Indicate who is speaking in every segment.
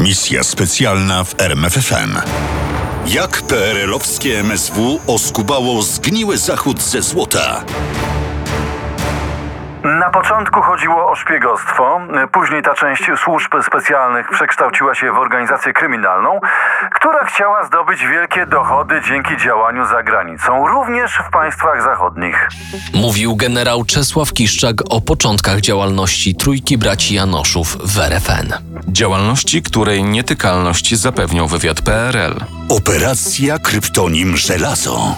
Speaker 1: Misja specjalna w RMFFM. Jak PRL-owskie MSW oskubało zgniły zachód ze złota?
Speaker 2: Na początku chodziło o szpiegostwo, później ta część służb specjalnych przekształciła się w organizację kryminalną, która chciała zdobyć wielkie dochody dzięki działaniu za granicą, również w państwach zachodnich.
Speaker 3: Mówił generał Czesław Kiszczak o początkach działalności Trójki Braci Janoszów w RFN.
Speaker 4: Działalności, której nietykalność zapewniał wywiad PRL.
Speaker 1: Operacja Kryptonim Żelazo.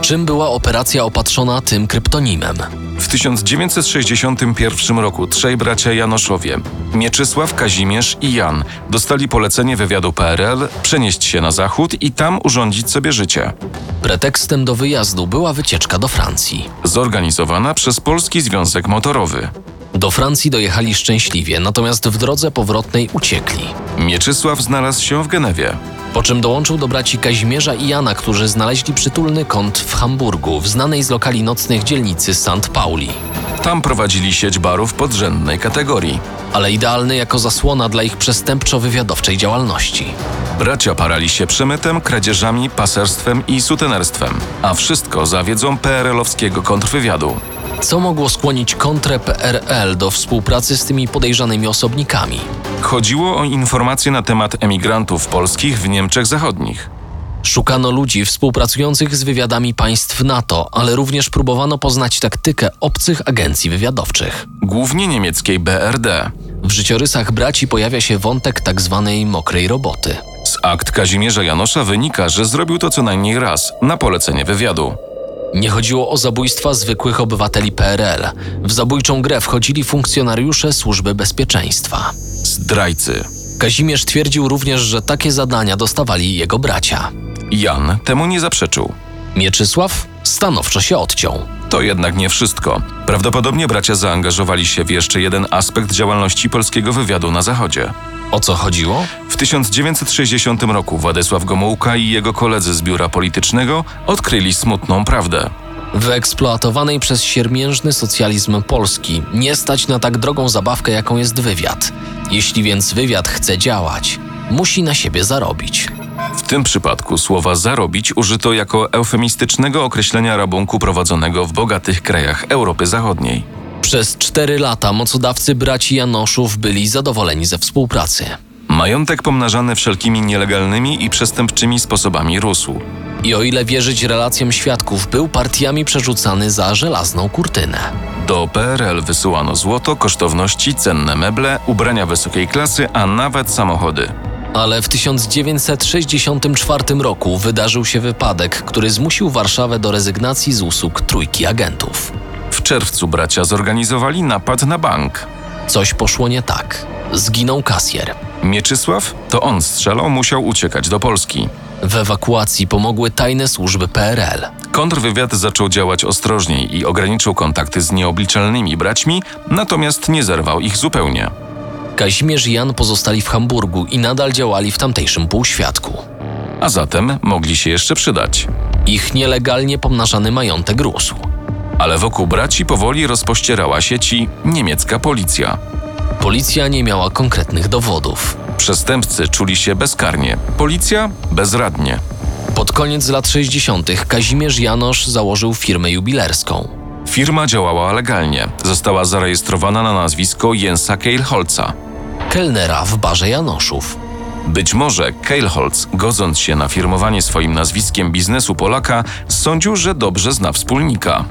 Speaker 3: Czym była operacja opatrzona tym kryptonimem?
Speaker 4: W 1961 roku trzej bracia Janoszowie, Mieczysław, Kazimierz i Jan, dostali polecenie wywiadu PRL przenieść się na zachód i tam urządzić sobie życie.
Speaker 3: Pretekstem do wyjazdu była wycieczka do Francji.
Speaker 4: Zorganizowana przez Polski Związek Motorowy.
Speaker 3: Do Francji dojechali szczęśliwie, natomiast w drodze powrotnej uciekli.
Speaker 4: Mieczysław znalazł się w Genewie.
Speaker 3: Po czym dołączył do braci Kazimierza i Jana, którzy znaleźli przytulny kąt w Hamburgu, w znanej z lokali nocnych dzielnicy St. Pauli.
Speaker 4: Tam prowadzili sieć barów podrzędnej kategorii.
Speaker 3: Ale idealny jako zasłona dla ich przestępczo-wywiadowczej działalności.
Speaker 4: Bracia parali się przemytem, kradzieżami, paserstwem i sutenerstwem, a wszystko za wiedzą PRL-owskiego kontrwywiadu.
Speaker 3: Co mogło skłonić kontrę PRL do współpracy z tymi podejrzanymi osobnikami?
Speaker 4: Chodziło o informacje na temat emigrantów polskich w Niemczech Zachodnich.
Speaker 3: Szukano ludzi współpracujących z wywiadami państw NATO, ale również próbowano poznać taktykę obcych agencji wywiadowczych.
Speaker 4: Głównie niemieckiej BRD.
Speaker 3: W życiorysach braci pojawia się wątek tzw. mokrej roboty.
Speaker 4: Z akt Kazimierza Janosza wynika, że zrobił to co najmniej raz, na polecenie wywiadu.
Speaker 3: Nie chodziło o zabójstwa zwykłych obywateli PRL. W zabójczą grę wchodzili funkcjonariusze służby bezpieczeństwa.
Speaker 4: Zdrajcy.
Speaker 3: Kazimierz twierdził również, że takie zadania dostawali jego bracia.
Speaker 4: Jan temu nie zaprzeczył.
Speaker 3: Mieczysław stanowczo się odciął.
Speaker 4: To jednak nie wszystko. Prawdopodobnie bracia zaangażowali się w jeszcze jeden aspekt działalności polskiego wywiadu na Zachodzie.
Speaker 3: O co chodziło?
Speaker 4: W 1960 roku Władysław Gomułka i jego koledzy z biura politycznego odkryli smutną prawdę.
Speaker 3: Wyeksploatowanej przez siermiężny socjalizm Polski nie stać na tak drogą zabawkę, jaką jest wywiad. Jeśli więc wywiad chce działać, musi na siebie zarobić.
Speaker 4: W tym przypadku słowa zarobić użyto jako eufemistycznego określenia rabunku prowadzonego w bogatych krajach Europy Zachodniej.
Speaker 3: Przez cztery lata mocodawcy braci Janoszów byli zadowoleni ze współpracy.
Speaker 4: Majątek pomnażany wszelkimi nielegalnymi i przestępczymi sposobami rósł.
Speaker 3: I o ile wierzyć relacjom świadków, był partiami przerzucany za żelazną kurtynę.
Speaker 4: Do PRL wysyłano złoto, kosztowności, cenne meble, ubrania wysokiej klasy, a nawet samochody.
Speaker 3: Ale w 1964 roku wydarzył się wypadek, który zmusił Warszawę do rezygnacji z usług trójki agentów.
Speaker 4: W czerwcu bracia zorganizowali napad na bank.
Speaker 3: Coś poszło nie tak. Zginął kasjer.
Speaker 4: Mieczysław, to on strzelał, musiał uciekać do Polski.
Speaker 3: W ewakuacji pomogły tajne służby PRL.
Speaker 4: Kontrwywiad zaczął działać ostrożniej i ograniczył kontakty z nieobliczalnymi braćmi, natomiast nie zerwał ich zupełnie.
Speaker 3: Kazimierz i Jan pozostali w Hamburgu i nadal działali w tamtejszym półświadku.
Speaker 4: A zatem mogli się jeszcze przydać.
Speaker 3: Ich nielegalnie pomnażany majątek rósł.
Speaker 4: Ale wokół braci powoli rozpościerała sieci niemiecka policja.
Speaker 3: Policja nie miała konkretnych dowodów.
Speaker 4: Przestępcy czuli się bezkarnie, policja bezradnie.
Speaker 3: Pod koniec lat 60. Kazimierz Janosz założył firmę jubilerską.
Speaker 4: Firma działała legalnie. Została zarejestrowana na nazwisko Jensa Keilholza.
Speaker 3: Kelnera w barze Janoszów.
Speaker 4: Być może Keilholz, godząc się na firmowanie swoim nazwiskiem biznesu Polaka, sądził, że dobrze zna wspólnika.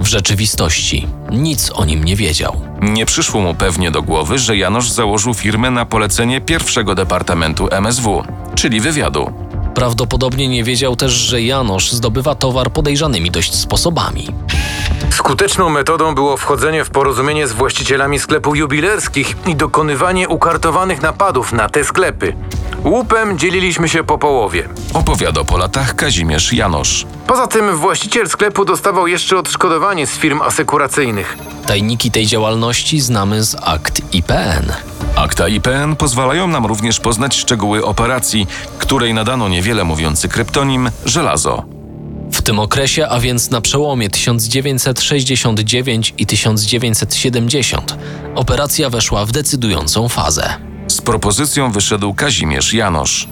Speaker 3: W rzeczywistości nic o nim nie wiedział.
Speaker 4: Nie przyszło mu pewnie do głowy, że Janosz założył firmę na polecenie pierwszego departamentu MSW, czyli wywiadu.
Speaker 3: Prawdopodobnie nie wiedział też, że Janosz zdobywa towar podejrzanymi dość sposobami.
Speaker 5: Skuteczną metodą było wchodzenie w porozumienie z właścicielami sklepów jubilerskich i dokonywanie ukartowanych napadów na te sklepy. Łupem dzieliliśmy się po połowie.
Speaker 4: Opowiada po latach Kazimierz Janosz.
Speaker 5: Poza tym właściciel sklepu dostawał jeszcze odszkodowanie z firm asekuracyjnych.
Speaker 3: Tajniki tej działalności znamy z akt IPN.
Speaker 4: Akta IPN pozwalają nam również poznać szczegóły operacji, której nadano niewiele mówiący kryptonim żelazo.
Speaker 3: W tym okresie, a więc na przełomie 1969 i 1970, operacja weszła w decydującą fazę.
Speaker 4: Z propozycją wyszedł Kazimierz Janosz.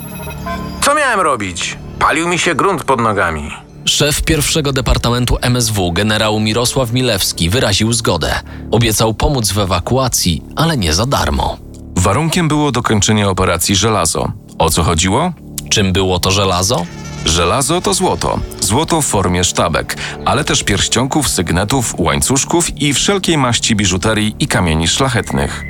Speaker 5: Co miałem robić? Palił mi się grunt pod nogami.
Speaker 3: Szef pierwszego departamentu MSW, generał Mirosław Milewski, wyraził zgodę. Obiecał pomóc w ewakuacji, ale nie za darmo.
Speaker 4: Warunkiem było dokończenie operacji Żelazo. O co chodziło?
Speaker 3: Czym było to żelazo?
Speaker 4: Żelazo to złoto. Złoto w formie sztabek, ale też pierścionków, sygnetów, łańcuszków i wszelkiej maści biżuterii i kamieni szlachetnych.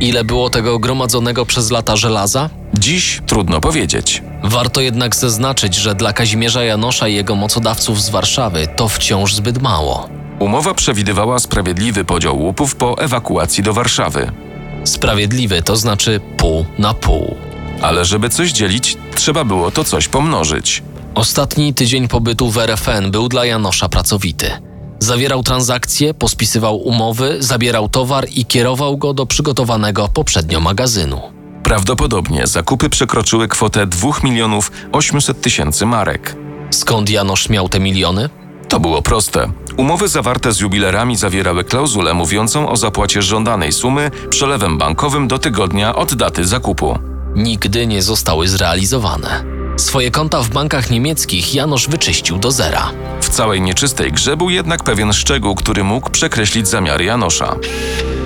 Speaker 3: Ile było tego gromadzonego przez lata żelaza?
Speaker 4: Dziś trudno powiedzieć.
Speaker 3: Warto jednak zaznaczyć, że dla Kazimierza Janosza i jego mocodawców z Warszawy to wciąż zbyt mało.
Speaker 4: Umowa przewidywała sprawiedliwy podział łupów po ewakuacji do Warszawy.
Speaker 3: Sprawiedliwy to znaczy pół na pół.
Speaker 4: Ale żeby coś dzielić, trzeba było to coś pomnożyć.
Speaker 3: Ostatni tydzień pobytu w RFN był dla Janosza pracowity. Zawierał transakcje, pospisywał umowy, zabierał towar i kierował go do przygotowanego poprzednio magazynu.
Speaker 4: Prawdopodobnie zakupy przekroczyły kwotę 2 milionów 800 tysięcy marek.
Speaker 3: Skąd Janosz miał te miliony?
Speaker 4: To było proste. Umowy zawarte z jubilerami zawierały klauzulę mówiącą o zapłacie żądanej sumy przelewem bankowym do tygodnia od daty zakupu.
Speaker 3: Nigdy nie zostały zrealizowane. Swoje konta w bankach niemieckich Janosz wyczyścił do zera.
Speaker 4: W całej nieczystej grze był jednak pewien szczegół, który mógł przekreślić zamiary Janosza.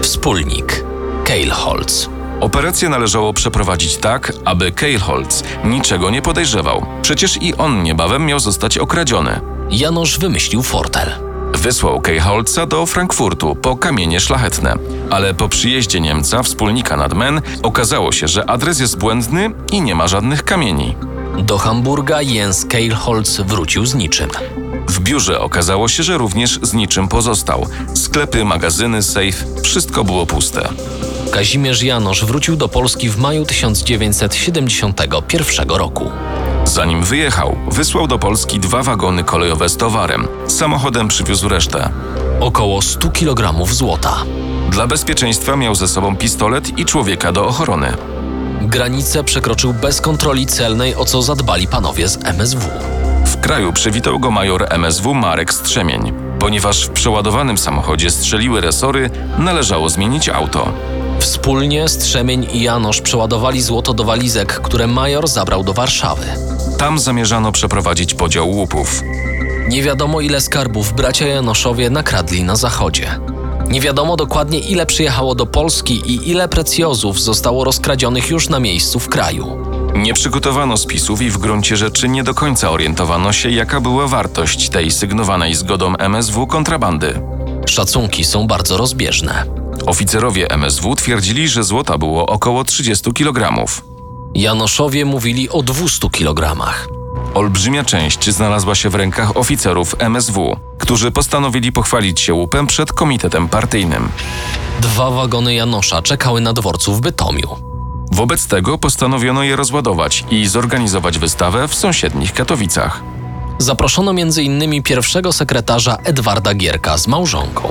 Speaker 3: Wspólnik Keilholz.
Speaker 4: Operację należało przeprowadzić tak, aby Keilholz niczego nie podejrzewał. Przecież i on niebawem miał zostać okradziony.
Speaker 3: Janosz wymyślił fortel.
Speaker 4: Wysłał Keilholza do Frankfurtu po kamienie szlachetne, ale po przyjeździe Niemca, wspólnika nadmen, okazało się, że adres jest błędny i nie ma żadnych kamieni.
Speaker 3: Do Hamburga Jens Keilholz wrócił z niczym.
Speaker 4: W biurze okazało się, że również z niczym pozostał. Sklepy, magazyny, sejf, wszystko było puste.
Speaker 3: Kazimierz Janosz wrócił do Polski w maju 1971 roku.
Speaker 4: Zanim wyjechał, wysłał do Polski dwa wagony kolejowe z towarem. Samochodem przywiózł resztę.
Speaker 3: Około 100 kg złota.
Speaker 4: Dla bezpieczeństwa miał ze sobą pistolet i człowieka do ochrony.
Speaker 3: Granicę przekroczył bez kontroli celnej, o co zadbali panowie z MSW.
Speaker 4: W kraju przywitał go major MSW Marek Strzemień. Ponieważ w przeładowanym samochodzie strzeliły resory, należało zmienić auto.
Speaker 3: Wspólnie Strzemień i Janosz przeładowali złoto do walizek, które major zabrał do Warszawy.
Speaker 4: Tam zamierzano przeprowadzić podział łupów.
Speaker 3: Nie wiadomo ile skarbów bracia Janoszowie nakradli na zachodzie. Nie wiadomo dokładnie ile przyjechało do Polski i ile precjozów zostało rozkradzionych już na miejscu w kraju.
Speaker 4: Nie przygotowano spisów i w gruncie rzeczy nie do końca orientowano się, jaka była wartość tej sygnowanej zgodą MSW kontrabandy.
Speaker 3: Szacunki są bardzo rozbieżne.
Speaker 4: Oficerowie MSW twierdzili, że złota było około 30 kg.
Speaker 3: Janoszowie mówili o 200 kg.
Speaker 4: Olbrzymia część znalazła się w rękach oficerów MSW, którzy postanowili pochwalić się łupem przed komitetem partyjnym.
Speaker 3: Dwa wagony Janosza czekały na dworcu w Bytomiu.
Speaker 4: Wobec tego postanowiono je rozładować i zorganizować wystawę w sąsiednich Katowicach.
Speaker 3: Zaproszono m.in. pierwszego sekretarza Edwarda Gierka z małżonką.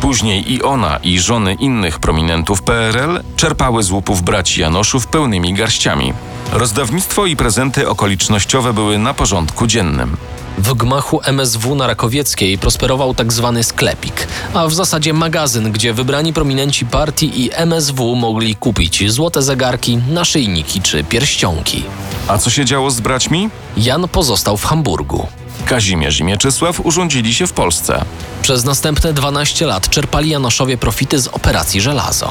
Speaker 4: Później i ona, i żony innych prominentów PRL czerpały z łupów braci Janoszów pełnymi garściami. Rozdawnictwo i prezenty okolicznościowe były na porządku dziennym.
Speaker 3: W gmachu MSW na Rakowieckiej prosperował tak zwany sklepik, a w zasadzie magazyn, gdzie wybrani prominenci partii i MSW mogli kupić złote zegarki, naszyjniki czy pierścionki.
Speaker 4: A co się działo z braćmi?
Speaker 3: Jan pozostał w Hamburgu.
Speaker 4: Kazimierz i Mieczysław urządzili się w Polsce.
Speaker 3: Przez następne 12 lat czerpali Janoszowie profity z operacji Żelazo.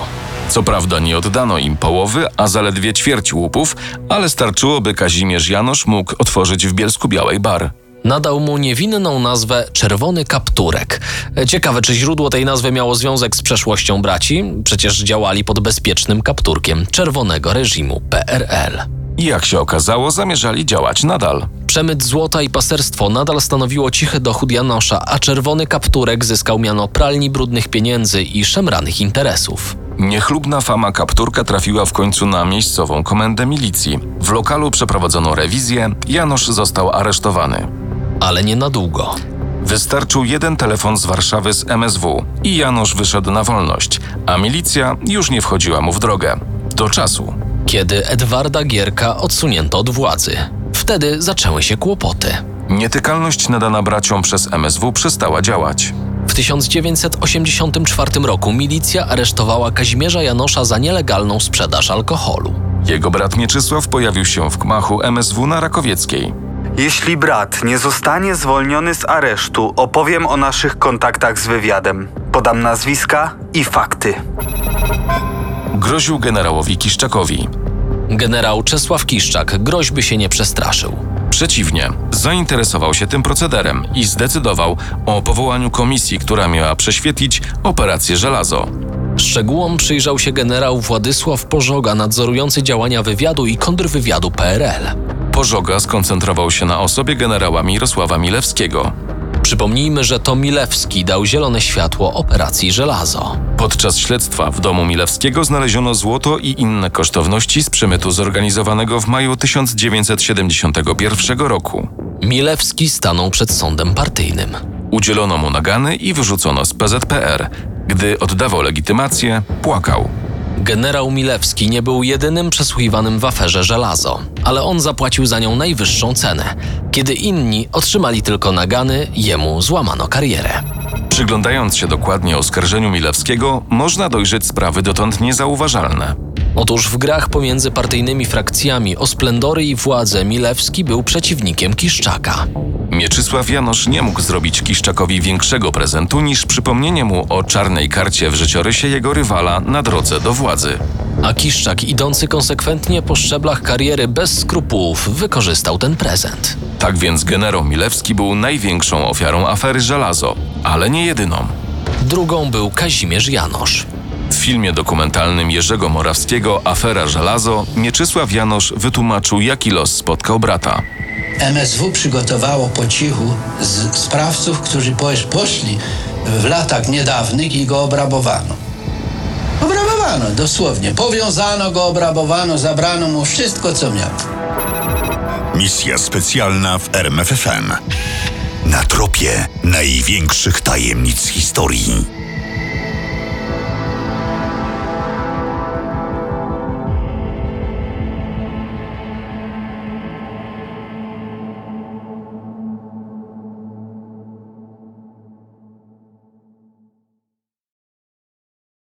Speaker 4: Co prawda nie oddano im połowy, a zaledwie ćwierć łupów, ale starczyło, by Kazimierz Janosz mógł otworzyć w Bielsku Białej bar.
Speaker 3: Nadał mu niewinną nazwę Czerwony Kapturek. Ciekawe, czy źródło tej nazwy miało związek z przeszłością braci? Przecież działali pod bezpiecznym kapturkiem Czerwonego Reżimu PRL.
Speaker 4: I jak się okazało, zamierzali działać nadal.
Speaker 3: Przemyt złota i paserstwo nadal stanowiło cichy dochód Janosza, a Czerwony Kapturek zyskał miano pralni brudnych pieniędzy i szemranych interesów.
Speaker 4: Niechlubna fama kapturka trafiła w końcu na miejscową komendę milicji. W lokalu przeprowadzono rewizję, Janusz został aresztowany.
Speaker 3: Ale nie na długo.
Speaker 4: Wystarczył jeden telefon z Warszawy z MSW i Janusz wyszedł na wolność, a milicja już nie wchodziła mu w drogę. Do czasu.
Speaker 3: Kiedy Edwarda Gierka odsunięto od władzy, wtedy zaczęły się kłopoty.
Speaker 4: Nietykalność nadana braciom przez MSW przestała działać.
Speaker 3: W 1984 roku milicja aresztowała Kazimierza Janosza za nielegalną sprzedaż alkoholu.
Speaker 4: Jego brat Mieczysław pojawił się w gmachu MSW na Rakowieckiej.
Speaker 6: Jeśli brat nie zostanie zwolniony z aresztu, opowiem o naszych kontaktach z wywiadem. Podam nazwiska i fakty.
Speaker 4: Groził generałowi Kiszczakowi.
Speaker 3: Generał Czesław Kiszczak groźby się nie przestraszył.
Speaker 4: Przeciwnie, zainteresował się tym procederem i zdecydował o powołaniu komisji, która miała prześwietlić operację Żelazo.
Speaker 3: Szczegółom przyjrzał się generał Władysław Pożoga, nadzorujący działania wywiadu i kontrwywiadu PRL.
Speaker 4: Pożoga skoncentrował się na osobie generała Mirosława Milewskiego.
Speaker 3: Przypomnijmy, że to Milewski dał zielone światło operacji Żelazo.
Speaker 4: Podczas śledztwa w domu Milewskiego znaleziono złoto i inne kosztowności z przemytu zorganizowanego w maju 1971 roku.
Speaker 3: Milewski stanął przed sądem partyjnym.
Speaker 4: Udzielono mu nagany i wyrzucono z PZPR. Gdy oddawał legitymację, płakał.
Speaker 3: Generał Milewski nie był jedynym przesłuchiwanym w aferze żelazo, ale on zapłacił za nią najwyższą cenę. Kiedy inni otrzymali tylko nagany, jemu złamano karierę.
Speaker 4: Przyglądając się dokładnie oskarżeniu Milewskiego, można dojrzeć sprawy dotąd niezauważalne.
Speaker 3: Otóż w grach pomiędzy partyjnymi frakcjami o splendory i władzę Milewski był przeciwnikiem Kiszczaka.
Speaker 4: Mieczysław Janosz nie mógł zrobić Kiszczakowi większego prezentu niż przypomnienie mu o czarnej karcie w życiorysie jego rywala na drodze do władzy.
Speaker 3: A Kiszczak, idący konsekwentnie po szczeblach kariery bez skrupułów, wykorzystał ten prezent.
Speaker 4: Tak więc generał Milewski był największą ofiarą afery Żelazo, ale nie jedyną.
Speaker 3: Drugą był Kazimierz Janosz.
Speaker 4: W filmie dokumentalnym Jerzego Morawskiego Afera Żelazo Mieczysław Janosz wytłumaczył, jaki los spotkał brata.
Speaker 7: MSW przygotowało po cichu z sprawców, którzy posz- poszli w latach niedawnych i go obrabowano. Obrabowano dosłownie. Powiązano go, obrabowano, zabrano mu wszystko, co miał.
Speaker 1: Misja specjalna w RMFFM. Na tropie największych tajemnic historii.